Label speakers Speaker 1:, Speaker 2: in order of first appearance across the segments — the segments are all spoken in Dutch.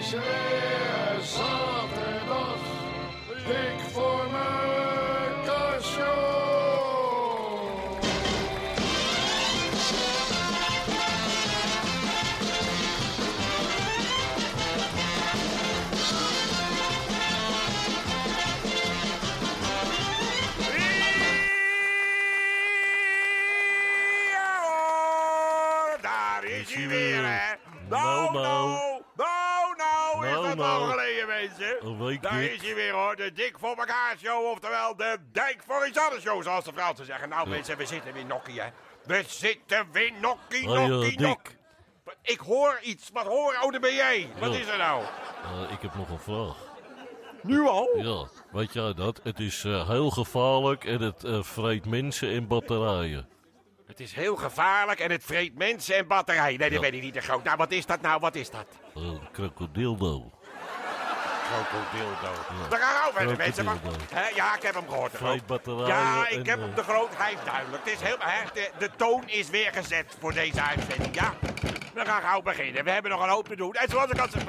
Speaker 1: weer zaterdag. Dik voor mijn kastje.
Speaker 2: Ja hoor, daar is hij weer, hè. Nou,
Speaker 3: Nou,
Speaker 2: nou, nou, nou, is
Speaker 3: Nou,
Speaker 2: dat lang
Speaker 3: nou.
Speaker 2: geleden, mensen.
Speaker 3: Een week
Speaker 2: Daar
Speaker 3: dik.
Speaker 2: is hij weer, hoor. De dik voor elkaar show, oftewel de dijk voor iets anders show, zoals de Fransen zeggen. Nou, mensen, we zitten weer nokkie, hè. We zitten weer nokkie,
Speaker 3: Hoi, eh,
Speaker 2: nokkie,
Speaker 3: Dick.
Speaker 2: nok. Ik hoor iets. Wat hoor? Oh, daar ben jij. Wat
Speaker 3: Ja.
Speaker 2: is er nou?
Speaker 3: Eh, ik heb nog een vraag.
Speaker 2: Nu al?
Speaker 3: Ja, weet jij dat? Het is eh, heel gevaarlijk en het eh, vreet mensen en batterijen.
Speaker 2: Het is heel gevaarlijk en het vreet mensen en batterijen. Nee, dat
Speaker 3: Ja.
Speaker 2: ben ik niet te groot. Nou, wat is dat nou? Wat is dat?
Speaker 3: Eh, krokodildo.
Speaker 2: Krokodildo. We gaan over de mensen. Maar,
Speaker 3: Krokodildo.
Speaker 2: hè, ja, ik heb hem gehoord. de
Speaker 3: Twee
Speaker 2: groot.
Speaker 3: batterijen
Speaker 2: Ja,
Speaker 3: en,
Speaker 2: ik heb
Speaker 3: eh,
Speaker 2: hem de groot. Hij is duidelijk. Het is heel, hè, de, de toon is weer gezet voor deze uitzending. Ja, we gaan gauw beginnen. We hebben nog een hoop te doen. En zoals ik al zei...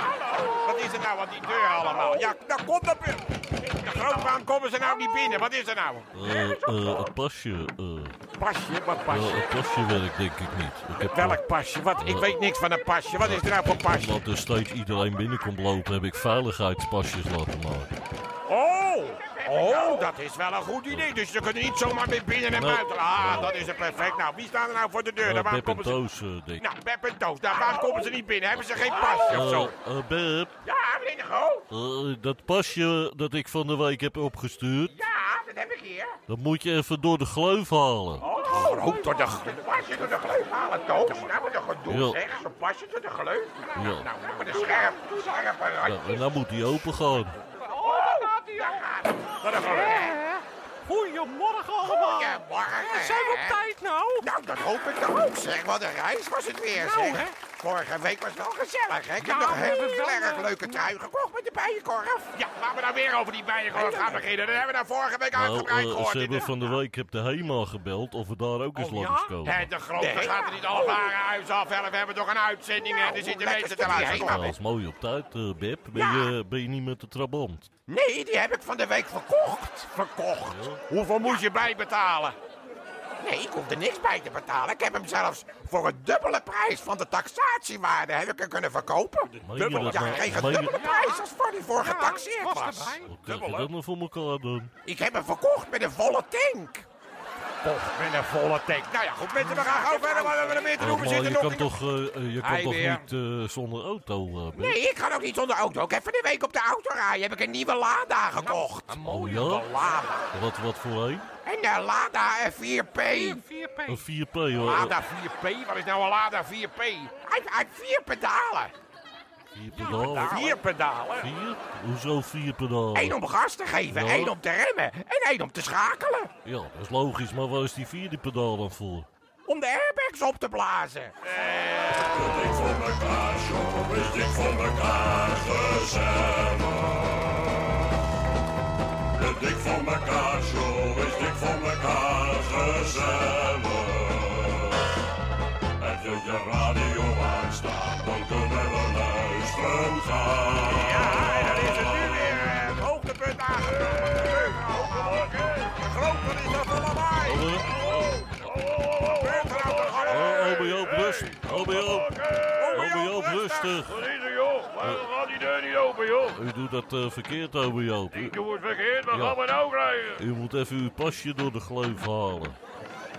Speaker 2: Hallo. Wat is er nou aan die deur allemaal? Ja, nou kom dan... binnen. De groot, waarom komen ze nou niet binnen? Wat is er nou?
Speaker 3: Eh, eh, een pasje. eh.
Speaker 2: Pasje, wat
Speaker 3: ja,
Speaker 2: pasje?
Speaker 3: een pasje werkt denk ik niet. Ik heb,
Speaker 2: Welk pasje? Wat? Ik weet niks van een pasje. Wat is er nou voor pasje?
Speaker 3: Omdat er steeds iedereen binnenkomt lopen, heb ik veiligheidspasjes laten maken.
Speaker 2: Oh, oh, dat is wel een goed idee. Dus ze kunnen niet zomaar weer binnen en
Speaker 3: Nee.
Speaker 2: buiten. Ah, dat is het perfect. Nou, wie staan er nou voor de deur?
Speaker 3: Uh,
Speaker 2: Daar
Speaker 3: Beb en
Speaker 2: komen ze...
Speaker 3: Toos, eh, Dick.
Speaker 2: Nou, Beb en Toos, daar waar komen ze niet binnen? Hebben ze geen pasje of zo?
Speaker 3: Eh, eh, Beb,
Speaker 2: Ja, meneer de Groot.
Speaker 3: eh, dat pasje dat ik van de week heb opgestuurd,
Speaker 2: Ja, dat heb ik hier.
Speaker 3: dat moet je even door de gleuf halen.
Speaker 2: Oh, groot door de gleuf. Pasje door de gleuf halen, Toos. Nou, wat een gedoe,
Speaker 3: Ja.
Speaker 2: zeg. Zo'n pasje door de gleuf.
Speaker 3: Ja.
Speaker 2: Nou, nou, wat een scherp, scherp randje.
Speaker 3: Ja, en dan moet die open gaan.
Speaker 2: Oh, daar gaat hij. Wat een geluid.
Speaker 4: Goedemorgen allemaal.
Speaker 2: Goedemorgen,
Speaker 4: Ja, Zijn we
Speaker 2: hè?
Speaker 4: op tijd nou?
Speaker 2: Nou, dat hoop ik toch ook, zeg. Wat een reis was het weer,
Speaker 4: Nou,
Speaker 2: zeg.
Speaker 4: hè?
Speaker 2: Vorige week was het wel gezellig, hè? Ik
Speaker 4: Ja,
Speaker 2: heb nog een
Speaker 4: we hebben
Speaker 2: heel
Speaker 4: wel,
Speaker 2: erg
Speaker 4: eh,
Speaker 2: leuke trui gekocht met de bijenkorf. Ja, laten we nou weer over die bijenkorf gaan beginnen. Dat hebben we nou vorige week
Speaker 3: Nou,
Speaker 2: uitgebreid
Speaker 3: eh,
Speaker 2: gehoord.
Speaker 3: ze hebben
Speaker 2: in
Speaker 3: van de week heb de HEMA gebeld of we daar ook eens
Speaker 4: Oh, ja?
Speaker 3: langs komen.
Speaker 2: Hè, Eh, de grote gaat er niet alle ware huis af. hè. We hebben toch een uitzending en er zitten mensen te
Speaker 3: Ja, dat
Speaker 2: luisteren.
Speaker 3: is mooi op tijd, eh, Beb. Ben, je, ben je niet met de trabant?
Speaker 2: Nee, die heb ik van de week verkocht. Verkocht? Hoeveel moest je bijbetalen? Nee, ik hoef er niks bij te betalen. Ik heb hem zelfs voor een dubbele prijs van de taxatiewaarde heb ik hem kunnen verkopen.
Speaker 3: je
Speaker 2: Dubbel,
Speaker 3: dat
Speaker 2: ja,
Speaker 3: nou?
Speaker 2: ik kreeg een
Speaker 3: Meen je-
Speaker 2: dubbele prijs als voor die voor
Speaker 4: Ja,
Speaker 2: getaxeerd
Speaker 4: was
Speaker 2: was.
Speaker 4: erbij.
Speaker 3: Hoe krijg
Speaker 2: Dubbel,
Speaker 3: je
Speaker 2: hè?
Speaker 3: dat nou voor elkaar dan?
Speaker 2: Ik heb hem verkocht met een volle tank. Kocht met een volle tank. Nou ja, goed mensen, we gaan gauw verder. Wat hebben we er meer te doen? We
Speaker 3: maar
Speaker 2: zitten
Speaker 3: je
Speaker 2: nog
Speaker 3: kan
Speaker 2: in-
Speaker 3: toch, eh, eh, je kan
Speaker 2: Hij
Speaker 3: toch
Speaker 2: weer.
Speaker 3: niet eh, zonder auto, eh, Beb?
Speaker 2: Nee, ik ga ook niet zonder auto. Ik heb van de week op de autoraai heb ik een nieuwe Lada gekocht. Een
Speaker 3: Oh ja?
Speaker 2: Lada.
Speaker 3: Wat, wat voor een?
Speaker 2: En de Lada F4P.
Speaker 4: 4P.
Speaker 3: Een 4P, hoor.
Speaker 2: Lada 4P? Wat is nou een Lada 4P? Hij hij heeft vier pedalen.
Speaker 3: Vier pedalen.
Speaker 2: Vier pedalen?
Speaker 3: Vier? Hoezo vier pedalen?
Speaker 2: Eén om gas te geven,
Speaker 3: Ja.
Speaker 2: één om te remmen en één om te schakelen.
Speaker 3: Ja, dat is logisch, maar waar is die vierde pedaal dan voor?
Speaker 2: Om de airbags op te blazen.
Speaker 5: De dik voor mekaar show is dik voor mekaar gezellig. Heb je je radio aanstaan, dan kunnen we luisteren gaan.
Speaker 2: Ja, en dan is het nu weer eh, het hoogtepunt aangenomen. Groot, wat is dat voor lawaai?
Speaker 3: Oh, eh,
Speaker 2: Gebeurt er nou toch allemaal?
Speaker 3: oh, oh, ben je op rust? Oh, ben je op?
Speaker 2: Oh,
Speaker 3: Oh, ben je op rustig? Eh.
Speaker 5: Wat is er joh? Waarom gaat die deur niet open joh?
Speaker 3: U doet dat eh, verkeerd, over Joop. U,
Speaker 5: Ik doe het verkeerd, wat
Speaker 3: Ja.
Speaker 5: gaan we nou krijgen?
Speaker 3: u moet even uw pasje door de gleuf halen.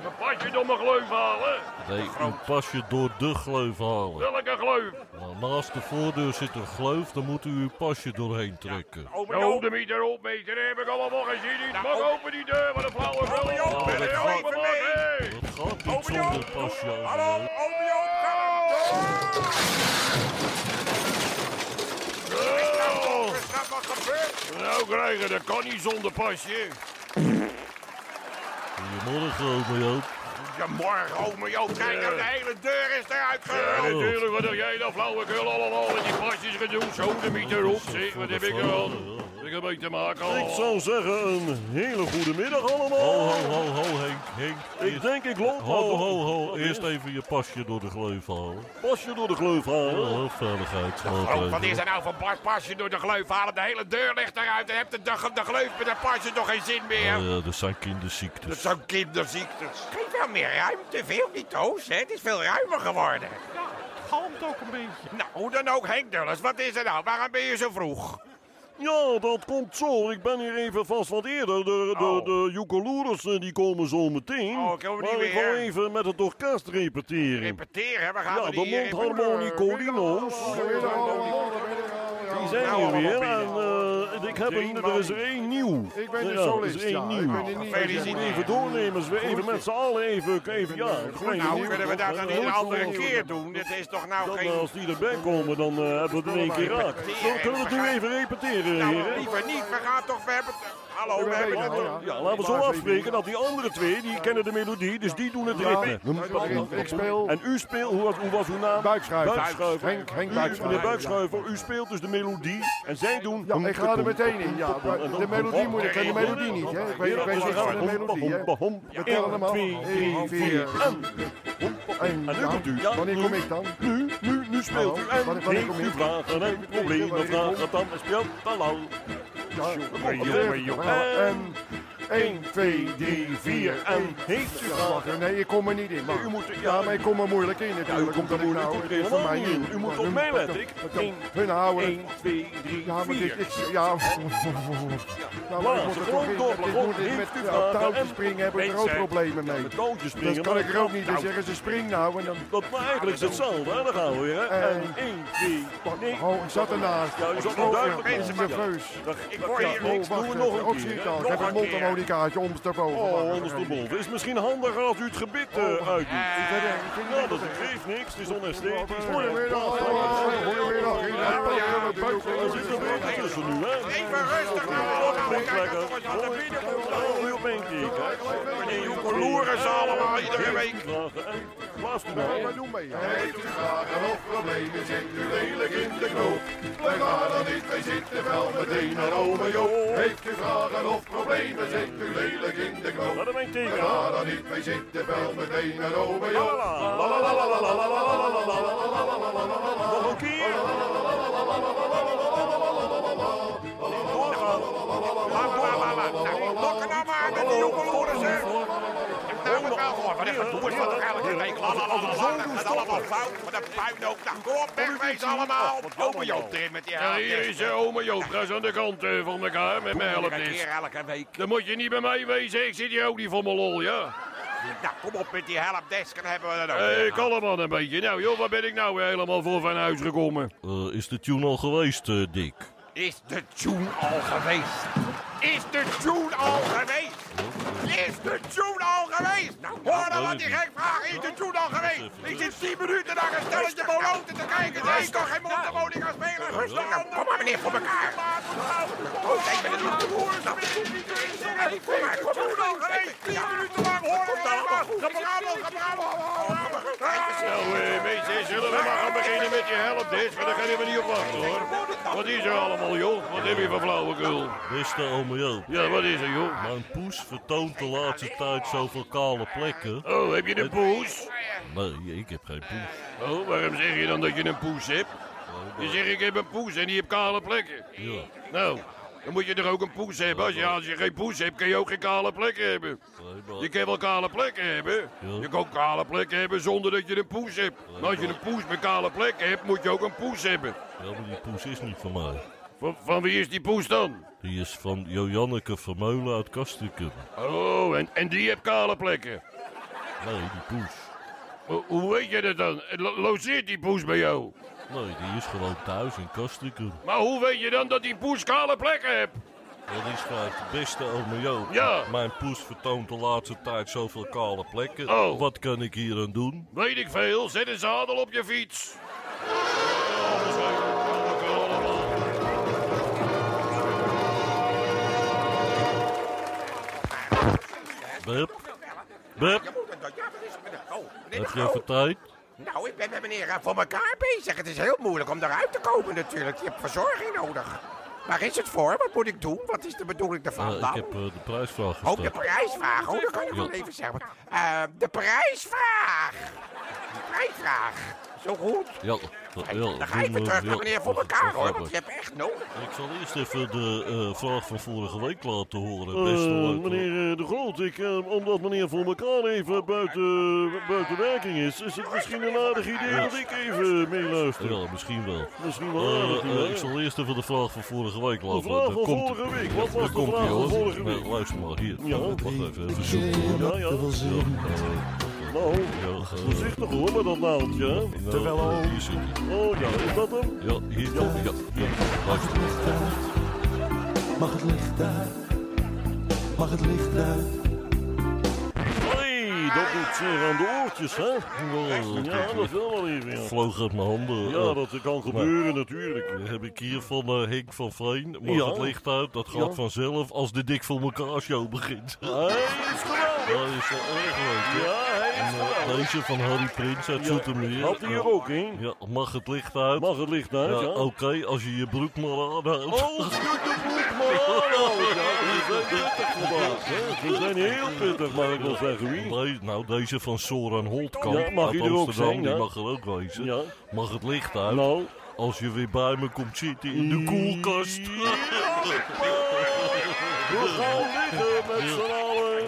Speaker 5: Een pasje door mijn gleuf halen?
Speaker 3: Nee, uw pasje door de gleuf halen.
Speaker 5: Welke gleuf?
Speaker 3: Nou, naast de voordeur zit een gleuf, dan moet u uw pasje doorheen trekken.
Speaker 2: Oh, mijn
Speaker 5: Nou,
Speaker 2: oom.
Speaker 5: de meter op, meter, heb ik allemaal gezien. Niet. Mag open die deur, wat een flauwe
Speaker 2: Nou, Oh,
Speaker 5: vrouw.
Speaker 2: joh,
Speaker 3: ben je
Speaker 2: even mee?
Speaker 3: Dat gaat
Speaker 2: Oh,
Speaker 3: niet
Speaker 2: mijn oom.
Speaker 3: zonder pasje,
Speaker 2: Hallo,
Speaker 3: over
Speaker 2: oom Joop, kalm. Wat is dat wat gebeurt?
Speaker 6: Oh,
Speaker 5: Nou krijgen, dat kan niet zonder pasje.
Speaker 3: Goedemorgen, over Joop.
Speaker 2: Goedemorgen, ome Joop. Kijk, nou, de hele deur is Oh. eruit
Speaker 5: Ja,
Speaker 2: geruimd.
Speaker 5: natuurlijk, wat heb jij nou flauwekul allemaal in die pasjes gedoe? Zo, de meter op, zeg, wat heb ik er al? Ik
Speaker 6: ik ermee te maken.
Speaker 3: Ik zou zeggen, een hele goede middag
Speaker 5: Ho,
Speaker 3: allemaal.
Speaker 5: ho, ho, ho, Henk, Henk.
Speaker 3: Ik denk, ik loop wel
Speaker 5: Ho,
Speaker 3: door-
Speaker 5: ho, ho.
Speaker 3: Wat
Speaker 5: Eerst
Speaker 3: is?
Speaker 5: even je pasje door de gleuf halen.
Speaker 3: Pas je door de gleuf halen.
Speaker 5: Oh, veiligheidsmaatregelen.
Speaker 2: Oh, wat is er nou van Bart Pasje door de gleuf halen? De hele deur ligt eruit en hebt de, de, de gleuf met de pasje nog geen zin meer.
Speaker 5: Oh ja, er zijn
Speaker 2: Dat
Speaker 5: kinderziektes.
Speaker 2: zijn kinderziektes. Geef wel meer ruimte, veel niet Toos, hè? Het is veel ruimer geworden.
Speaker 7: Ja, het galmt ook een beetje.
Speaker 2: Nou, hoe dan ook, Henk Dulles, wat is er nou? Waarom ben je zo vroeg?
Speaker 3: Ja, dat komt zo. Ik ben hier even vast wat eerder. De, de,
Speaker 2: Oh.
Speaker 3: de joekeloerers, eh, die komen zo meteen.
Speaker 2: Oh, komen die
Speaker 3: maar ik
Speaker 2: weer?
Speaker 3: wil even met het orkest repeteren.
Speaker 2: Repeteren, eh, we gaan
Speaker 3: Ja,
Speaker 2: er
Speaker 3: de
Speaker 2: niet hier in-
Speaker 3: mondharmonicodino's. Die zijn
Speaker 2: Nou,
Speaker 3: er weer.
Speaker 2: allemaal
Speaker 3: En eh, ik heb
Speaker 2: Drie
Speaker 3: een, er is
Speaker 2: man.
Speaker 3: er één nieuw.
Speaker 6: Ik ben de
Speaker 3: Ja,
Speaker 6: solist,
Speaker 3: Er is één
Speaker 6: ja. Ik
Speaker 3: nieuw.
Speaker 6: ben de nieuwe.
Speaker 2: Gefeliciteerd.
Speaker 6: Ja.
Speaker 3: Even doornemen, eens weer even met z'n allen even, even ja. een kleine
Speaker 2: Nou,
Speaker 3: nieuw.
Speaker 2: kunnen we dat dan niet een
Speaker 3: Eh,
Speaker 2: andere
Speaker 3: eh,
Speaker 2: keer doen? Dit is toch nou
Speaker 3: Dan, eh,
Speaker 2: geen...
Speaker 3: als die erbij komen, dan eh, hebben we het in één keer raak. Zo, kunnen we het nu even repeteren,
Speaker 2: Nou,
Speaker 3: heren?
Speaker 2: liever niet, we gaan toch... We hebben het- Hallo, we hebben het...
Speaker 3: Ja, Nou, laten we zo afspreken dat die andere twee, die kennen de melodie, dus die doen het ritme.
Speaker 6: Ik speel
Speaker 3: En u speelt, hoe was, hoe was uw naam?
Speaker 6: buikschuiven.
Speaker 3: Buikschuiver.
Speaker 6: Henk, Henk
Speaker 3: U,
Speaker 6: Buikschuiver.
Speaker 3: meneer Buikschuiver, u speelt dus de melodie en zij doen...
Speaker 6: Ja, ik ga er meteen in. Ja, de melodie moet ik, ken de melodie niet. Hè. Ik weet, ik weet niet van de melodie. Hè. We tellen hem
Speaker 3: Eén,
Speaker 6: af.
Speaker 3: twee, drie,
Speaker 6: Eén,
Speaker 3: vier,
Speaker 6: vier.
Speaker 3: en...
Speaker 6: En
Speaker 3: En nu
Speaker 6: dan,
Speaker 3: komt u. Ja,
Speaker 6: wanneer
Speaker 3: nu.
Speaker 6: kom ik dan?
Speaker 3: Nu, nu, nu speelt u
Speaker 6: Wanneer-
Speaker 3: en
Speaker 6: wanneer kom
Speaker 3: heeft
Speaker 6: ik?
Speaker 3: u vragen en problemen, vraag het dan en speelt te lang.
Speaker 6: Ja, Nou,
Speaker 3: jongen, jongen.
Speaker 6: En 1, 2, 3, 4 en...
Speaker 3: heeft u
Speaker 6: Ja,
Speaker 3: vragen.
Speaker 6: wacht, nee, ik kom er niet in.
Speaker 3: U
Speaker 6: Maar.
Speaker 3: moet,
Speaker 6: Ja, maar ik kom er moeilijk in
Speaker 3: Ja, u
Speaker 6: natuurlijk.
Speaker 3: komt
Speaker 6: omdat
Speaker 3: er
Speaker 6: ik
Speaker 3: moeilijk
Speaker 6: nou-
Speaker 3: u komt er
Speaker 6: voor mij
Speaker 3: helemaal niet
Speaker 6: niet.
Speaker 3: in. U moet
Speaker 6: Maar
Speaker 3: op
Speaker 6: hun-
Speaker 3: mij letten.
Speaker 6: dat-
Speaker 3: Ik-
Speaker 6: dat-
Speaker 3: één,
Speaker 6: Hun houden het.
Speaker 3: 1, 2, 3,
Speaker 6: Ja, maar dit
Speaker 3: 4.
Speaker 6: is... Ja, nou, maar ik moet er toch in. dat Ik moet dit met ja, touwtjes springen, heb ik er ook problemen mee.
Speaker 3: Met touwtjes springen.
Speaker 6: Dat kan ik er ook niet. Dan
Speaker 3: Nou,
Speaker 6: zeggen ze spring nou en dan...
Speaker 3: Dat maar eigenlijk is hetzelfde, hè? Daar gaan we weer, hè?
Speaker 6: Eh.
Speaker 3: En 1, 2, nee.
Speaker 6: Oh, ik zat ernaast.
Speaker 3: Ja, u
Speaker 6: Ik
Speaker 3: zat
Speaker 6: schrok
Speaker 3: duidelijk
Speaker 6: me.
Speaker 3: naast.
Speaker 6: nerveus.
Speaker 2: Ik hoor hier
Speaker 6: Oh,
Speaker 2: niks.
Speaker 3: Doe
Speaker 6: wacht
Speaker 3: het nog
Speaker 6: even.
Speaker 3: een
Speaker 6: Oh,
Speaker 3: keer,
Speaker 6: zie ik
Speaker 3: hè?
Speaker 6: al. Ik heb
Speaker 2: Nog
Speaker 6: een
Speaker 2: een keer.
Speaker 6: mondharmonicaatje ondersteboven.
Speaker 3: Oh,
Speaker 6: Wacht even.
Speaker 3: ondersteboven. Is misschien handiger als u het gebit eh, uitdoet. Nou, dat geeft niks. Het is onesthetisch. maar het
Speaker 6: Goedemiddag,
Speaker 3: past wel.
Speaker 6: allemaal. Goedemiddag.
Speaker 3: Er zit een beetje tussen nu, hè?
Speaker 2: Even rustig nou allemaal.
Speaker 3: Klinkt
Speaker 2: Kijk, dat
Speaker 3: lekker.
Speaker 2: wordt aan de binnen komt.
Speaker 3: Oh, nu op één keer, hè?
Speaker 2: Die joekeloeren ze allemaal iedere week.
Speaker 3: Vragen, hè? Blaas u maar in.
Speaker 6: Doe mee.
Speaker 8: Heeft u vragen of problemen, zit u lelijk in de knoop. We gaan er niet mee zitten, wel meteen naar ome Joop. Heeft u vragen of problemen, zit u lelijk in de knoop.
Speaker 3: Laat hem een
Speaker 8: We
Speaker 3: teken.
Speaker 8: gaan er niet mee zitten, wel meteen naar ome Joop.
Speaker 3: Nog een keer.
Speaker 2: Laat, laat, laat, laat. Nou, Lokken nou maar met die joekeloeren, zeg. Nou, we gaan gewoon. Wat een gedoe is dat toch eigenlijk een week. La, la, la, la, la. Dat gaat allemaal fout. Wat een puinhoop. Nou, kom op, wegwezen allemaal. Ome Joop erin met die
Speaker 6: Ja,
Speaker 2: helft.
Speaker 6: hier is eh, ome Joop. Ga eens aan de kant eh, van elkaar met mijn
Speaker 2: Elke
Speaker 6: helpnis.
Speaker 2: keer, elke week.
Speaker 6: Dan moet je niet bij mij wezen. Ik zit hier ook niet voor mijn lol, ja.
Speaker 2: Nou, kom op met die helpdesk. Dan hebben we dat ook.
Speaker 6: Hé,
Speaker 2: weer.
Speaker 6: uh, kalm aan een beetje. Nou joh, waar ben ik nou weer helemaal voor van huis gekomen?
Speaker 5: Eh, is de tune al geweest, eh, Dick?
Speaker 2: Is de tune al geweest? Is de tune al geweest? Is de tune al geweest? Nou, hoor dan wat die gek vraagt. Is de tune al geweest? Ik zit 10 minuten naar een stelletje boloten te kijken. Nee, ik kan geen mondharmonica gaan
Speaker 6: Nou,
Speaker 2: spelen. Rustig aan. Kom maar meneer, voor elkaar. Oh, ik ben het niet te horen. Dat is niet te inzingen. Kom maar, kom maar. Tune al geweest. 10 minuten lang horen. Gebrabbel, gebrabbel.
Speaker 6: Nou, eh, mensen, zullen we maar gaan beginnen met je helpdesk? Want daar gaan we niet op wachten, hoor. Wat is er allemaal, joh? Wat heb je voor flauwekul?
Speaker 5: Beste ome Joop,
Speaker 6: Ja, wat is er, joh?
Speaker 5: mijn poes vertoont de laatste tijd zoveel kale plekken.
Speaker 6: Oh, heb je een poes?
Speaker 5: Nee, ik heb geen poes.
Speaker 6: Oh, waarom zeg je dan dat je een poes hebt? Je zegt, ik heb een poes en die heeft kale plekken.
Speaker 5: Ja,
Speaker 6: Nou, dan moet je toch ook een poes hebben. Als je, als je geen poes hebt, kun je ook geen kale plekken hebben.
Speaker 5: nee, maar-
Speaker 6: Je kan wel kale plekken hebben. Je kan ook kale plekken hebben zonder dat je een poes hebt. Maar als je een poes met kale plekken hebt, moet je ook een poes hebben.
Speaker 5: ja, maar die poes is niet van mij.
Speaker 6: Van, van wie is die poes dan?
Speaker 5: Die is van Joanneke Vermeulen uit Kastrikum.
Speaker 6: Oh, en, en die heeft kale plekken.
Speaker 5: Nee, die poes.
Speaker 6: Ho- Hoe weet je dat dan? Lo- Logeert die poes bij jou?
Speaker 5: Nee, die is gewoon thuis in Kastrikum.
Speaker 6: Maar hoe weet je dan dat die poes kale plekken heeft?
Speaker 5: Dat is vaak beste ome Joop.
Speaker 6: Ja.
Speaker 5: Mijn poes vertoont de laatste tijd zoveel kale plekken.
Speaker 6: Oh.
Speaker 5: Wat kan ik hier aan doen?
Speaker 6: Weet ik veel, zet een zadel op je fiets.
Speaker 5: Beb, Beb,
Speaker 2: Oh,
Speaker 5: heb je even tijd?
Speaker 2: Nou, ik ben met meneer eh, voor elkaar bezig. Het is heel moeilijk om eruit te komen natuurlijk. Je hebt verzorging nodig. Waar is het voor? Wat moet ik doen? Wat is de bedoeling
Speaker 3: Eh,
Speaker 2: daarvan
Speaker 3: ik
Speaker 2: dan?
Speaker 3: heb eh, de prijsvraag
Speaker 2: Ook de
Speaker 3: gesteld.
Speaker 2: prijsvraag. Oh, dat kan ik
Speaker 3: Ja.
Speaker 2: wel even zeggen. Eh, de prijsvraag. De prijsvraag. Zo goed.
Speaker 3: Ja, ja,
Speaker 2: Kijk, dan ga je
Speaker 3: doen
Speaker 2: weer
Speaker 3: we-
Speaker 2: terug naar
Speaker 3: ja,
Speaker 2: meneer voor
Speaker 3: dat- dat
Speaker 2: elkaar hoor,
Speaker 3: gaat
Speaker 2: want je
Speaker 3: wel.
Speaker 2: hebt echt nodig.
Speaker 3: Ik zal eerst even de eh, vraag van vorige week laten horen. Best wel
Speaker 9: Eh
Speaker 3: leuk. hoor.
Speaker 9: meneer eh, De Groot, ik, eh, omdat meneer voor elkaar even buiten, buiten werking is, is het misschien een aardig idee dat ik even meeluister.
Speaker 3: Ja, misschien wel.
Speaker 9: Misschien
Speaker 3: Eh,
Speaker 9: wel aardig,
Speaker 3: eh,
Speaker 9: niet
Speaker 3: ik
Speaker 9: waar?
Speaker 3: zal eh, eerst even de vraag van vorige week laten
Speaker 9: De vraag
Speaker 3: horen.
Speaker 9: van vorige week. Wat was de vraag van vorige week?
Speaker 3: Luister maar, hier.
Speaker 9: Ja.
Speaker 3: Wacht even, even zoeken. hoor.
Speaker 9: Ja, ja. Nou,
Speaker 3: Ja, eh,
Speaker 9: voorzichtig hoor met dat naaldje. hè.
Speaker 3: nou,
Speaker 10: Terwijl-
Speaker 3: Hier zit hij.
Speaker 9: Oh ja, is dat hem?
Speaker 3: Ja, hier toch? Ja, ja.
Speaker 10: Mag het
Speaker 3: Luister.
Speaker 10: licht uit? Mag het licht uit? Mag het licht uit?
Speaker 9: Hé, dat doet zeer aan de oortjes, hè? Ja, dat wil wel even, ja.
Speaker 3: Vloog uit mijn handen.
Speaker 9: Ja,
Speaker 3: Eh,
Speaker 9: dat kan gebeuren natuurlijk.
Speaker 3: Dan heb ik hier van eh, Henk van Veen. Mag
Speaker 9: Ja.
Speaker 3: het licht uit? Dat gaat
Speaker 9: Ja.
Speaker 3: vanzelf als de Dik voor elkaar show begint.
Speaker 9: Hij is geweldig.
Speaker 3: Dat is wel erg leuk, hè?
Speaker 9: Ja, hij is
Speaker 3: En, eh,
Speaker 9: geweldig.
Speaker 3: Deze van Harry Prins uit Zoetermeer.
Speaker 9: Had hij er
Speaker 3: Ja.
Speaker 9: ook een?
Speaker 3: Ja, mag het licht uit?
Speaker 9: Mag het licht uit,
Speaker 3: Ja,
Speaker 9: ja?
Speaker 3: Oké, als je je broek maar aanhoudt.
Speaker 9: Oh, stuk de broek, maar aanhouden, ja. We zijn pittig vandaag, hè? We zijn heel pittig, mag ik wel zeggen, wie?
Speaker 3: Nee, nou, deze van Soran Holtkamp
Speaker 9: Ja, mag
Speaker 3: uit
Speaker 9: hij er ook
Speaker 3: Amsterdam,
Speaker 9: zijn,
Speaker 3: die
Speaker 9: ja?
Speaker 3: mag er ook wezen.
Speaker 9: Ja,
Speaker 3: Mag het licht uit
Speaker 9: nou.
Speaker 3: als je weer bij me komt zitten in de koelkast.
Speaker 9: We gaan liggen met z'n allen.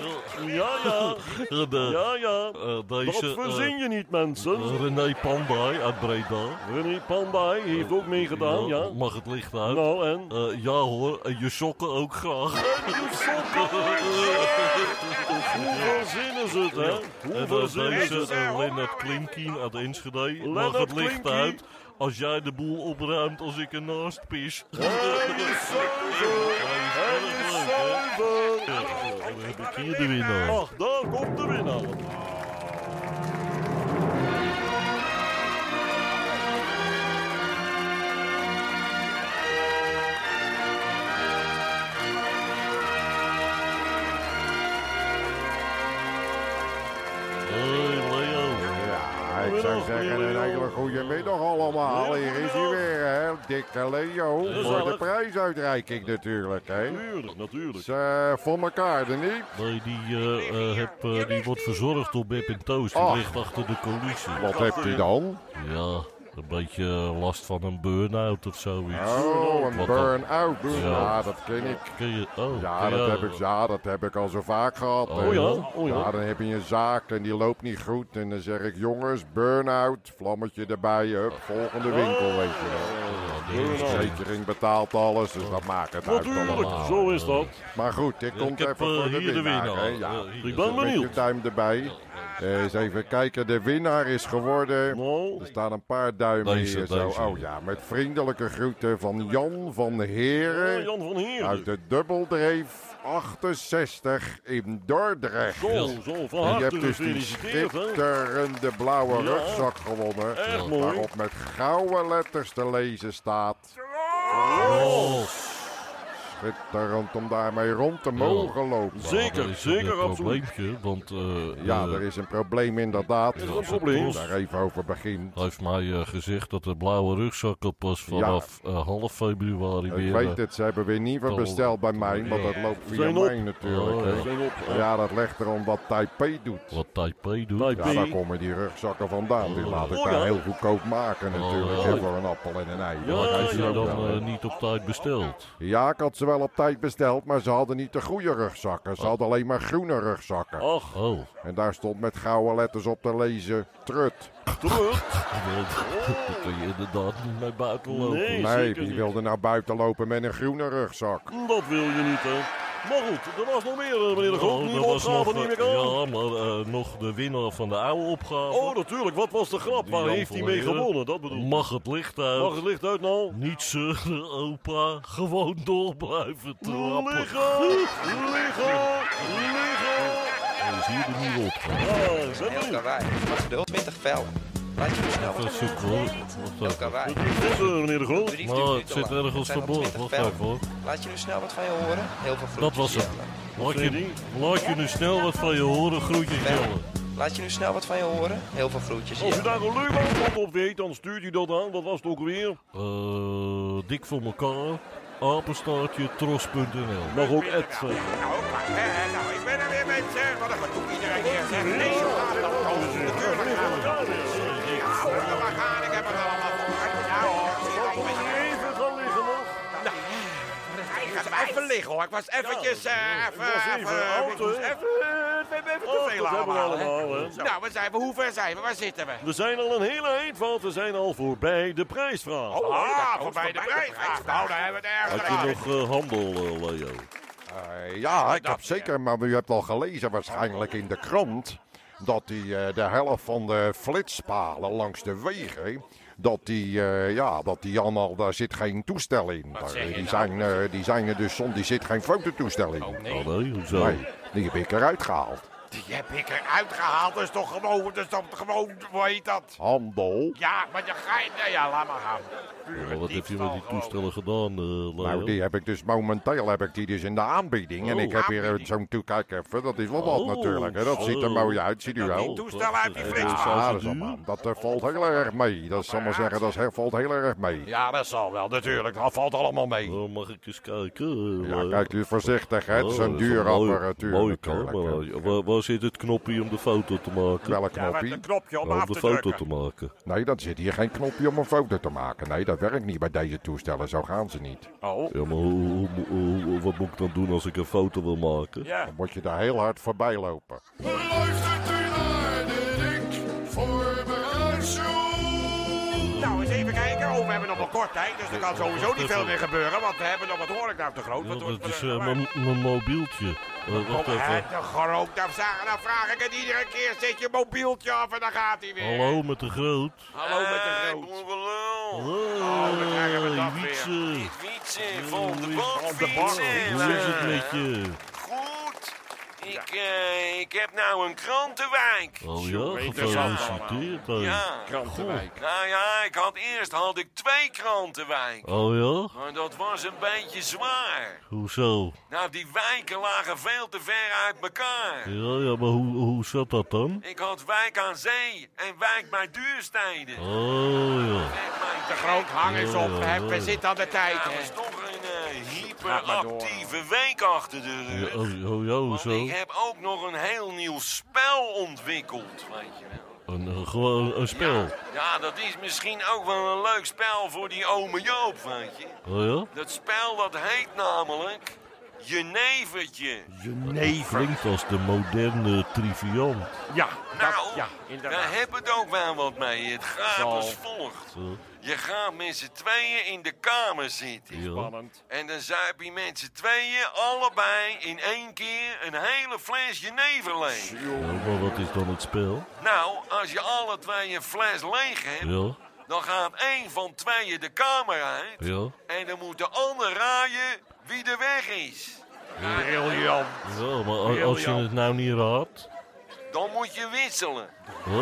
Speaker 9: Ja, ja.
Speaker 3: En, eh,
Speaker 9: Ja, ja.
Speaker 3: eh,
Speaker 9: Dat
Speaker 3: deze
Speaker 9: verzin
Speaker 3: eh
Speaker 9: je niet, mensen.
Speaker 3: René Pandai uit Breda.
Speaker 9: René Pandai heeft ook meegedaan, ja.
Speaker 3: Mag het licht uit?
Speaker 9: Nou, en?
Speaker 3: Eh, ja hoor, en je sokken ook graag.
Speaker 9: Eh,
Speaker 3: Eh,
Speaker 9: Je sokken! Hoe verzinnen ze het, hè?
Speaker 3: En dat
Speaker 9: Hoe verzinnen ze
Speaker 3: deze
Speaker 9: het? Oh.
Speaker 3: eh, Lennart Klimkien uit Enschede. Mag
Speaker 9: Lennart
Speaker 3: het licht
Speaker 9: Klimkien.
Speaker 3: uit als jij de boel opruimt als ik ernaast pis.
Speaker 9: Hij is zuiver! Hij is zuiver!
Speaker 3: Dan heb ik hier de winnaar.
Speaker 9: Ach, daar komt de winnaar.
Speaker 3: Hey Leo.
Speaker 6: Ja, ik zou zeggen een hele goede middag allemaal. Hier is hij weer, hè? Dikke Leo. Voor de prijsuitreiking natuurlijk, hè?
Speaker 9: Natuurlijk, natuurlijk.
Speaker 6: Is, eh, voor elkaar, er niet?
Speaker 3: Nee, die, eh, eh, heb, eh, die wordt verzorgd door Beb en Toos. Die
Speaker 6: Ach.
Speaker 3: ligt achter de coulissen.
Speaker 6: Wat heeft hij dan?
Speaker 3: Ja, een beetje eh, last van een burn-out of zoiets.
Speaker 6: Oh, een
Speaker 3: Wat dan?
Speaker 6: burn-out.
Speaker 3: Ja.
Speaker 6: Ja, dat ken ik.
Speaker 3: Ken je? Oh,
Speaker 6: Ja,
Speaker 3: ken
Speaker 6: dat
Speaker 3: jij
Speaker 6: heb ik, ja, dat heb ik al zo vaak gehad. hè.
Speaker 3: Oh ja,
Speaker 9: oh ja.
Speaker 6: Ja, dan heb je een zaak en die loopt niet goed. En dan zeg ik, jongens, burn-out, vlammetje erbij, hup, volgende winkel, weet je wel.
Speaker 3: Oh, Ja, die heeft-
Speaker 6: Verzekering betaalt alles, dus dat maakt het uit allemaal.
Speaker 9: Natuurlijk, zo is dat.
Speaker 6: Maar goed, dit
Speaker 3: Ja, Ik
Speaker 6: Nou, eh, komt
Speaker 3: heb
Speaker 6: even
Speaker 3: eh,
Speaker 6: voor de
Speaker 3: hier de
Speaker 6: winnaar. hè,
Speaker 3: winnaar.
Speaker 6: ja.
Speaker 3: Eh, hier.
Speaker 9: Ik
Speaker 6: Met
Speaker 9: ben
Speaker 6: je
Speaker 9: benieuwd.
Speaker 6: duim erbij. Eh, eens even kijken, de winnaar is geworden...
Speaker 9: Nou,
Speaker 6: Er staan een paar duimen
Speaker 3: Deze,
Speaker 6: hier zo.
Speaker 3: deze.
Speaker 6: Oh ja, met vriendelijke groeten van Jan van
Speaker 3: Eh,
Speaker 6: Heren
Speaker 9: Jan van
Speaker 6: uit
Speaker 9: Heerden.
Speaker 6: de Dubbeldreef 68 in Dordrecht.
Speaker 9: Zo, zo, van
Speaker 6: En je
Speaker 9: harte
Speaker 6: hebt dus die
Speaker 9: gefeliciteerd, hè.
Speaker 6: schitterende blauwe
Speaker 9: Ja.
Speaker 6: rugzak gewonnen.
Speaker 9: Echt mooi.
Speaker 6: Waarop met gouden letters te lezen staat.
Speaker 3: Rolf.
Speaker 6: Schitterend om daarmee rond te mogen lopen.
Speaker 9: Zeker,
Speaker 3: Er is
Speaker 9: zeker,
Speaker 3: een eh,
Speaker 9: absoluut.
Speaker 3: probleempje, want eh,
Speaker 6: Ja,
Speaker 3: eh,
Speaker 6: er is een probleem inderdaad.
Speaker 9: een probleem.
Speaker 6: Daar even over begint.
Speaker 3: hij heeft mij eh, gezegd dat de blauwe rugzak er pas vanaf eh, half februari
Speaker 6: Ik
Speaker 3: weer...
Speaker 6: weet
Speaker 3: eh,
Speaker 6: het, ze hebben weer nieuwe
Speaker 3: Tol-
Speaker 6: besteld bij mij, want dat loopt via
Speaker 9: Zijn op.
Speaker 6: mij natuurlijk.
Speaker 3: Oh,
Speaker 6: hè.
Speaker 3: ja.
Speaker 9: Zijn op, hè.
Speaker 6: Ja, dat legt er omdat Taipei doet.
Speaker 3: Wat Taipei doet.
Speaker 6: Ja,
Speaker 9: Taipei.
Speaker 6: daar komen die rugzakken vandaan. Die laat ik
Speaker 9: Oh, ja.
Speaker 6: daar heel goedkoop maken natuurlijk.
Speaker 3: Oh.
Speaker 6: hè, Voor een appel en een ei.
Speaker 9: Ja,
Speaker 6: Dat is
Speaker 3: Maar heeft hij
Speaker 6: ook
Speaker 3: dan
Speaker 6: wel, hè.
Speaker 3: eh, niet op tijd besteld?
Speaker 6: Ja, ik had ze wel op tijd besteld, maar ze hadden niet de goede rugzakken. Ze
Speaker 9: Oh.
Speaker 6: hadden alleen maar groene rugzakken.
Speaker 9: Ach,
Speaker 3: Oh,
Speaker 6: En daar stond met gouden letters op te lezen, trut.
Speaker 9: terug.
Speaker 3: daar kun je inderdaad niet mee buiten lopen.
Speaker 9: Nee,
Speaker 6: Nee,
Speaker 9: zeker
Speaker 6: wie
Speaker 9: niet.
Speaker 6: wilde nou buiten lopen met een groene rugzak?
Speaker 9: Dat wil je niet, hè. Maar goed, er was nog meer, eh, meneer de Groot.
Speaker 3: Oh,
Speaker 9: Nu
Speaker 3: er
Speaker 9: de
Speaker 3: was
Speaker 9: opgave
Speaker 3: nog,
Speaker 9: niet meer
Speaker 3: eh,
Speaker 9: aan.
Speaker 3: Ja, maar eh, nog de winnaar van de oude opgave.
Speaker 9: Oh, natuurlijk. Wat was de grap?
Speaker 3: Die
Speaker 9: Waar
Speaker 3: Jan
Speaker 9: heeft
Speaker 3: van
Speaker 9: hij mee
Speaker 3: Leeuwen.
Speaker 9: gewonnen? Dat bedoel ik.
Speaker 3: Mag het licht uit?
Speaker 9: Mag het licht uit nou?
Speaker 3: Niet zeuren, opa. Gewoon door blijven trappen.
Speaker 9: Liggen! Liggen! Liggen!
Speaker 3: Dan is hier de nieuwe opgave.
Speaker 9: Ja, zijn we nu.
Speaker 11: Karwei. Wat is 20 vellen. Laat je versnellen.
Speaker 3: Even zoeken hoor. Wacht even.
Speaker 11: Karwei.
Speaker 9: Dit is er, meneer de Groot.
Speaker 3: Nou, het zit ergens verborgen. Wacht even hoor.
Speaker 11: Laat je nu snel wat van je horen. Heel veel
Speaker 3: Dat
Speaker 11: groetjes.
Speaker 3: was het.
Speaker 11: Jelle.
Speaker 3: Laat je, laat je nu snel wat van je horen, groetjes Jelle.
Speaker 11: Laat je nu snel wat van je horen. Heel veel groetjes.
Speaker 3: Oh.
Speaker 9: Als u
Speaker 11: Jelle.
Speaker 9: daar een leuk antwoord op weet, dan stuurt u dat aan. Wat was het ook weer?
Speaker 3: Eh, dik voor elkaar. apenstaartje tros.nl. Mag ook Ed zeggen.
Speaker 2: Nou, ook maar. Hè, hè, nou, ik ben er weer mensen. Wat een gedoe iedereen hier zegt. Nee, zo gaat dat toch. Natuurlijk gaat het toch. Ja, moet er maar gaan. Ik heb het allemaal voor. Nou, ik zie het allemaal hier.
Speaker 12: Even gaan liggen nog.
Speaker 2: Ik ga maar even liggen hoor. Ik was eventjes... eh, even,
Speaker 12: was even oud,
Speaker 2: ik moest
Speaker 12: hè?
Speaker 2: even, eh, even te
Speaker 12: Oh,
Speaker 2: veel
Speaker 12: dat hebben we
Speaker 2: allemaal. hè.
Speaker 12: allemaal, hè.
Speaker 2: Nou, waar zijn we? Hoe ver zijn we? Waar zitten we?
Speaker 12: We zijn al een hele eind, want we zijn al voorbij de prijsvraag.
Speaker 2: Ah, voorbij de prijs. Nou, daar hebben we het erg
Speaker 3: Had je nog eh, handel, eh, Leo?
Speaker 6: Eh, ja, ik heb zeker, maar u hebt al gelezen waarschijnlijk in de krant... dat die, eh, de helft van de flitspalen langs de wegen... dat die, eh, ja, dat die allemaal, daar zit geen toestel in. Daar,
Speaker 2: zeg je
Speaker 6: die,
Speaker 2: nou?
Speaker 6: zijn, eh, die zijn er dus zonder, die zit geen fototoestel in.
Speaker 3: Oh nee, hoezo?
Speaker 6: Nee, die heb ik eruit gehaald.
Speaker 2: Die heb ik eruit gehaald. Dat is toch gewoon... Dat is toch gewoon... Hoe heet dat?
Speaker 6: Handel.
Speaker 2: Ja, maar dan ga je... Nou ja, laat maar gaan. Pure
Speaker 3: Ja, wat heb je
Speaker 2: diefstal
Speaker 3: met die
Speaker 2: gewoon.
Speaker 3: toestellen gedaan, eh, Leo?
Speaker 6: Nou, die heb ik dus momenteel heb ik die dus in de aanbieding. En
Speaker 3: Oh.
Speaker 6: ik heb hier eh, zo'n toekijk even. Dat is wel wat
Speaker 3: Oh,
Speaker 6: natuurlijk. Hè. Dat ziet er
Speaker 3: zo.
Speaker 6: mooi uit, ziet u
Speaker 2: Dat
Speaker 6: wel.
Speaker 2: niet toestel uit die
Speaker 3: Eh,
Speaker 2: flits.
Speaker 3: dus
Speaker 2: Ah,
Speaker 3: als
Speaker 6: Ah,
Speaker 3: het
Speaker 6: dat, is
Speaker 3: nu-
Speaker 6: allemaal- dat eh, valt heel erg mee. Dat zal maar zeggen, dat is, heel- valt heel erg mee.
Speaker 2: Ja, dat zal wel, natuurlijk. Dat valt allemaal mee.
Speaker 3: Oh, mag ik eens kijken? eh,
Speaker 6: Ja,
Speaker 3: Leo?
Speaker 6: kijk, u is voorzichtig, hè. Het is
Speaker 3: Oh,
Speaker 6: een
Speaker 3: dat is
Speaker 6: dure
Speaker 3: mooi-
Speaker 6: apparatuur
Speaker 3: Mooi
Speaker 6: natuurlijk,
Speaker 3: camera.
Speaker 6: hè.
Speaker 3: eh, Ja, Waar, waar zit het knopje om de foto te
Speaker 6: Welk
Speaker 3: maken?
Speaker 2: Ja, met
Speaker 6: knopje?
Speaker 2: een knopje om
Speaker 3: Ja,
Speaker 2: af
Speaker 3: om de
Speaker 2: te
Speaker 3: foto
Speaker 2: drukken.
Speaker 3: te maken.
Speaker 6: Nee, dan zit hier geen knopje om een foto te maken. Nee, dat werkt niet bij deze toestellen. Zo gaan ze niet.
Speaker 2: Oh.
Speaker 3: Ja, maar hoe, hoe, hoe- hoe- wat moet ik dan doen als ik een foto wil maken?
Speaker 2: Ja.
Speaker 6: Dan moet je daar heel hard voorbij lopen.
Speaker 5: Luistert u naar de Rink Voorbereidshow.
Speaker 2: Nou, eens even kijken. Oh, we hebben nog wel kort tijd, dus er kan sowieso niet veel meer gebeuren. Want we hebben nog wat horeca te groot.
Speaker 3: Ja,
Speaker 2: Wat wordt
Speaker 3: dat is
Speaker 2: er-
Speaker 3: eh, mijn mijn mobieltje. Eh, wacht
Speaker 2: Kom, hè,
Speaker 3: even.
Speaker 2: te groot. Dan vraag, dan vraag ik het iedere keer. Zet je mobieltje af en dan gaat hij weer.
Speaker 3: Hallo met de groot.
Speaker 2: Hallo met
Speaker 9: Eh,
Speaker 2: de groot.
Speaker 3: Oh, Hallo,
Speaker 2: we krijgen we dat weer.
Speaker 3: Wietse.
Speaker 9: Fietsen, van de
Speaker 3: Van
Speaker 9: bak,
Speaker 2: de bak.
Speaker 9: fietsen.
Speaker 3: Hoe is het met je?
Speaker 9: Goed. Ik, eh, ik heb nou een krantenwijk.
Speaker 3: Oh ja,
Speaker 2: interessant
Speaker 3: gefeliciteerd. hè.
Speaker 9: Ja.
Speaker 2: Krantenwijk.
Speaker 9: Nou ja, ik had eerst had ik twee krantenwijk.
Speaker 3: Oh ja?
Speaker 9: Maar dat was een beetje zwaar.
Speaker 3: Hoezo?
Speaker 9: Nou, die wijken lagen veel te ver uit elkaar.
Speaker 3: Ja, ja, maar hoe, hoe zat dat dan?
Speaker 9: Ik had wijk aan zee en wijk bij Duursteden.
Speaker 3: Oh ja.
Speaker 9: Wijk bij
Speaker 2: Te groot, hang eens op.
Speaker 3: Ja,
Speaker 2: hè. We
Speaker 3: ja.
Speaker 2: zitten aan de tijd.
Speaker 9: Ja,
Speaker 2: hè.
Speaker 9: dat is toch een eh,
Speaker 2: Gaat maar door.
Speaker 9: hyperactieve week achter de
Speaker 3: ja
Speaker 9: rug.
Speaker 3: oh, oh ja,
Speaker 9: Want
Speaker 3: hoezo?
Speaker 9: ik heb ook nog een heel nieuw spel ontwikkeld, weet je wel.
Speaker 3: Een, eh, gewoon een spel.
Speaker 9: Ja, dat is misschien ook wel een leuk spel voor die ome Joop, weet je.
Speaker 3: Oh ja?
Speaker 9: Dat spel dat heet namelijk Jenevertje.
Speaker 3: Nee, Oh, Klinkt als de moderne triviant.
Speaker 2: Ja, dat,
Speaker 9: Nou,
Speaker 2: ja,
Speaker 9: Daar
Speaker 2: inderdaad.
Speaker 9: heb het ook wel wat mee. Het gaat
Speaker 2: Zo.
Speaker 9: als volgt.
Speaker 3: Zo.
Speaker 9: Je gaat met z'n tweeën in de kamer zitten.
Speaker 3: Ja.
Speaker 2: Spannend.
Speaker 9: En dan zuip je met z'n tweeën allebei in één keer een hele fles jenever leeg.
Speaker 3: Ja, maar wat is dan het spel?
Speaker 9: Nou, als je alle twee een fles leeg hebt,
Speaker 3: Ja,
Speaker 9: dan gaat één van tweeën de kamer uit.
Speaker 3: ja.
Speaker 9: En dan moet de ander raaien wie de weg is.
Speaker 2: Briljant.
Speaker 3: Ja, maar a- als je het nou niet raadt...
Speaker 9: Dan moet je wisselen.
Speaker 3: Oh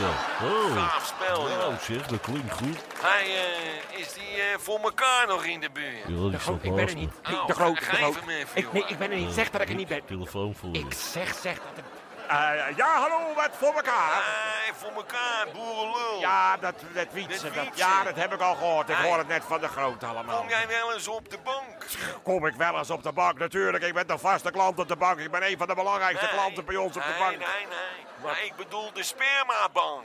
Speaker 3: ja, oh.
Speaker 9: Gaaf spel, joh.
Speaker 3: Nou zeg, dat klinkt goed.
Speaker 9: Hij eh, is die eh, voor elkaar nog in de buurt.
Speaker 3: Ja, die
Speaker 2: Groot,
Speaker 3: staat
Speaker 2: ik ben er
Speaker 3: naast
Speaker 2: niet.
Speaker 3: me.
Speaker 9: Oh,
Speaker 2: De groot, de
Speaker 9: geef
Speaker 2: groot.
Speaker 9: hem even,
Speaker 2: Ik,
Speaker 9: joh.
Speaker 2: nee, ik ben er niet. Zeg dat ik er niet ben.
Speaker 3: Telefoon voor
Speaker 2: Ik
Speaker 3: je.
Speaker 2: zeg, zeg dat ik... Eh, ja, hallo, wat voor elkaar.
Speaker 9: Hij voor elkaar, boerenlul.
Speaker 2: Ja, dat, dat fietsen.
Speaker 9: Dat
Speaker 2: Dat, ja,
Speaker 9: fietsen.
Speaker 2: dat heb ik al gehoord. Ik
Speaker 9: Hey.
Speaker 2: hoor het net van de groot allemaal.
Speaker 9: Kom jij wel eens op de bank?
Speaker 2: Kom ik wel eens op de bank, natuurlijk. Ik ben de vaste klant op de bank. Ik ben een van de belangrijkste klanten bij ons op de
Speaker 9: Nee,
Speaker 2: bank.
Speaker 9: Nee, nee, Maar ik bedoel de spermabank.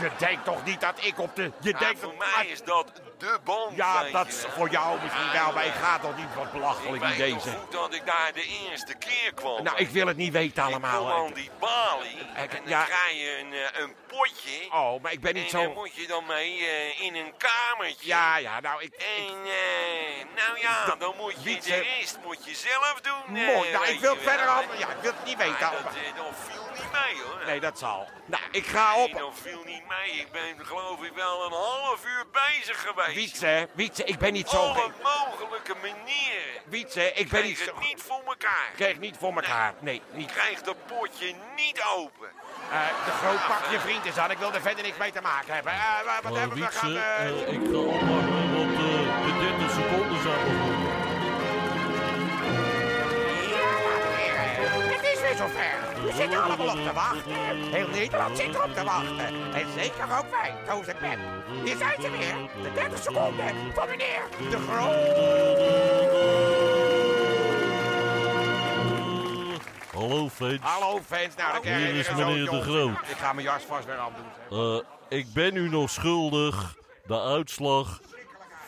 Speaker 2: Je denkt toch niet dat ik op de... Je
Speaker 9: Ja,
Speaker 2: denkt
Speaker 9: voor
Speaker 2: dat-
Speaker 9: mij is dat de bank.
Speaker 2: Ja,
Speaker 9: weet
Speaker 2: dat
Speaker 9: je
Speaker 2: is
Speaker 9: wel.
Speaker 2: voor jou misschien
Speaker 9: Ja,
Speaker 2: wel, maar
Speaker 9: ja.
Speaker 2: ik ga toch niet wat belachelijk
Speaker 9: Ik
Speaker 2: in
Speaker 9: weet nog
Speaker 2: deze.
Speaker 9: goed dat ik daar de eerste keer kwam.
Speaker 2: Nou, ik wil het niet weten
Speaker 9: Ik kom
Speaker 2: allemaal.
Speaker 9: aan die balie en
Speaker 2: Ik-
Speaker 9: dan
Speaker 2: ja.
Speaker 9: krijg je een, eh, een potje.
Speaker 2: Oh, maar ik ben
Speaker 9: en
Speaker 2: niet
Speaker 9: dan
Speaker 2: zo...
Speaker 9: moet je dan mee eh, in een kamertje.
Speaker 2: Ja, ja, nou, ik... ik-
Speaker 9: En eh, nou ja, dan moet je
Speaker 2: Wietse-
Speaker 9: de rest moet je zelf doen. eh,
Speaker 2: eh, Mooi, nou,
Speaker 9: weet
Speaker 2: ik wil
Speaker 9: je
Speaker 2: verder
Speaker 9: wel.
Speaker 2: af... Ja, ik wil het niet weten.
Speaker 9: Maar dat,
Speaker 2: allemaal.
Speaker 9: eh, dat viel niet mee hoor.
Speaker 2: Nee, dat zal. Nou, ik ga
Speaker 9: Nee,
Speaker 2: op.
Speaker 9: dat viel niet mee. Ik ben geloof ik wel een half uur bezig geweest.
Speaker 2: Wietse, Wietse, ik ben niet zo...
Speaker 9: Alle mogelijke manieren.
Speaker 2: Wietse, ik ben niet
Speaker 9: Kreeg
Speaker 2: zo...
Speaker 9: het niet voor elkaar.
Speaker 2: Ik kreeg niet voor elkaar. Nee, niet.
Speaker 9: Krijg dat potje niet open.
Speaker 2: Eh, de groot pak je vriend is aan. Ik wil er verder niks mee te maken hebben. Eh, wa- wat
Speaker 3: Maar
Speaker 2: hebben we? we
Speaker 3: Oh, Wietse,
Speaker 2: gaan, eh,
Speaker 3: eh, ik ga ophangen, want eh, de 30 seconden zijn begonnen.
Speaker 2: Het is weer weer zo ver.
Speaker 3: Oh.
Speaker 2: We zitten allemaal op te wachten. Heel Nederland zit erop te wachten. En zeker ook wij, Toos en Pep. Hier zijn ze weer. De 30 seconden van meneer De Groot.
Speaker 3: Hallo, fans.
Speaker 2: Hallo fans, nou dan krijg je
Speaker 3: Oh, Hier
Speaker 2: weer
Speaker 3: is
Speaker 2: een
Speaker 3: meneer
Speaker 2: zootje
Speaker 3: De
Speaker 2: onzin.
Speaker 3: Groot.
Speaker 2: Ik ga mijn jas vast weer afdoen.
Speaker 3: Eh, ik ben u nog schuldig de uitslag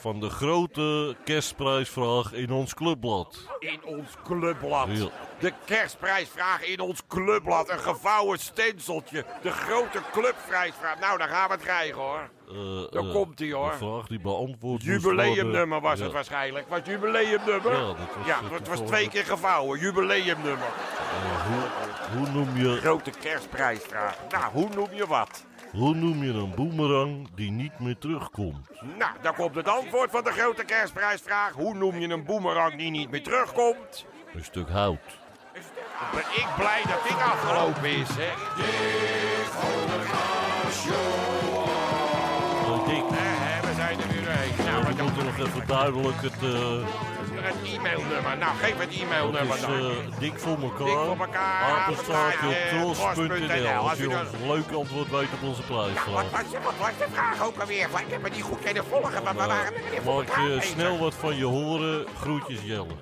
Speaker 3: van de grote kerstprijsvraag in ons clubblad.
Speaker 2: In ons clubblad.
Speaker 3: Ja.
Speaker 2: De kerstprijsvraag in ons clubblad. Een gevouwen stenseltje. De grote clubprijsvraag. Nou, dan gaan we het krijgen hoor.
Speaker 3: Eh,
Speaker 2: Daar
Speaker 3: eh,
Speaker 2: komt ie, hoor.
Speaker 3: De vraag die beantwoord moest
Speaker 2: Jubileumnummer
Speaker 3: worden.
Speaker 2: was het
Speaker 3: Ja.
Speaker 2: waarschijnlijk. Was het jubileumnummer?
Speaker 3: Ja, dat was
Speaker 2: ja,
Speaker 3: het
Speaker 2: het was
Speaker 3: toevallig.
Speaker 2: twee keer gevouwen. Jubileumnummer.
Speaker 3: Eh, hoe, hoe, noem je,
Speaker 2: Grote kerstprijsvraag. Nou, hoe noem je wat?
Speaker 3: hoe noem je een boemerang die niet meer terugkomt?
Speaker 2: Nou, daar komt het antwoord van de grote kerstprijsvraag. Hoe noem je een boemerang die niet meer terugkomt?
Speaker 3: Een stuk hout.
Speaker 2: Dan ben ik blij dat dit afgelopen is, hè?
Speaker 3: Eh, Dick,
Speaker 2: Hè, hè, we zijn er nu doorheen. Nou,
Speaker 3: we
Speaker 2: wat dan?
Speaker 3: moeten nog even duidelijk het... eh,
Speaker 2: Het e-mailnummer. Nou, geef het
Speaker 3: dat
Speaker 2: e-mailnummer
Speaker 3: is
Speaker 2: dan.
Speaker 3: eh, Dik voor elkaar.
Speaker 2: Dik voor elkaar, Eh,
Speaker 3: Apenstaartje op
Speaker 2: apenstaartje, tros.nl.
Speaker 3: tros.nl. Als je
Speaker 2: Als u
Speaker 3: ons een leuk antwoord weet op onze
Speaker 2: Wat
Speaker 3: prijsvraag.
Speaker 2: was, wat was de vraag ook alweer? Want Ik heb het niet goed kunnen volgen, maar we waren er weer voor
Speaker 3: Maak
Speaker 2: elkaar
Speaker 3: je
Speaker 2: bezig.
Speaker 3: eh, snel wat van je horen. Groetjes Jelle.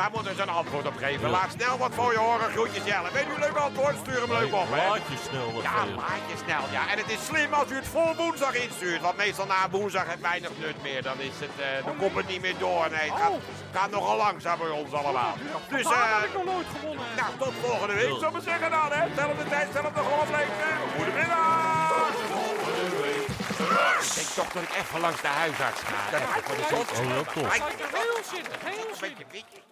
Speaker 2: Daar moeten ze een antwoord op geven.
Speaker 3: Ja.
Speaker 2: Laat snel wat voor je horen, groetjes Jelle. Weet u een leuk antwoord? Stuur hem leuk op, hè?
Speaker 3: Maak je snel wat
Speaker 2: Ja,
Speaker 3: van je
Speaker 2: maak je snel. Ja, en het is slim als u het voor woensdag instuurt. Want meestal na woensdag heeft weinig nut meer. Dan, is het, eh, dan komt het niet meer door. Nee,
Speaker 4: Oh.
Speaker 2: het gaat, het gaat nogal langzaam bij ons allemaal. Dus,
Speaker 4: Daar
Speaker 2: eh
Speaker 4: heb ik nog nooit gewonnen.
Speaker 2: nou, tot volgende week, zullen we zeggen dan, hè? Tel op de tijd, tel op de golflengte. Goedemiddag! Ik denk toch dat ik even langs de huisarts ga. Dat
Speaker 3: Oh, ja, toch.
Speaker 4: Heel zin, heel zin.
Speaker 2: beetje witjes.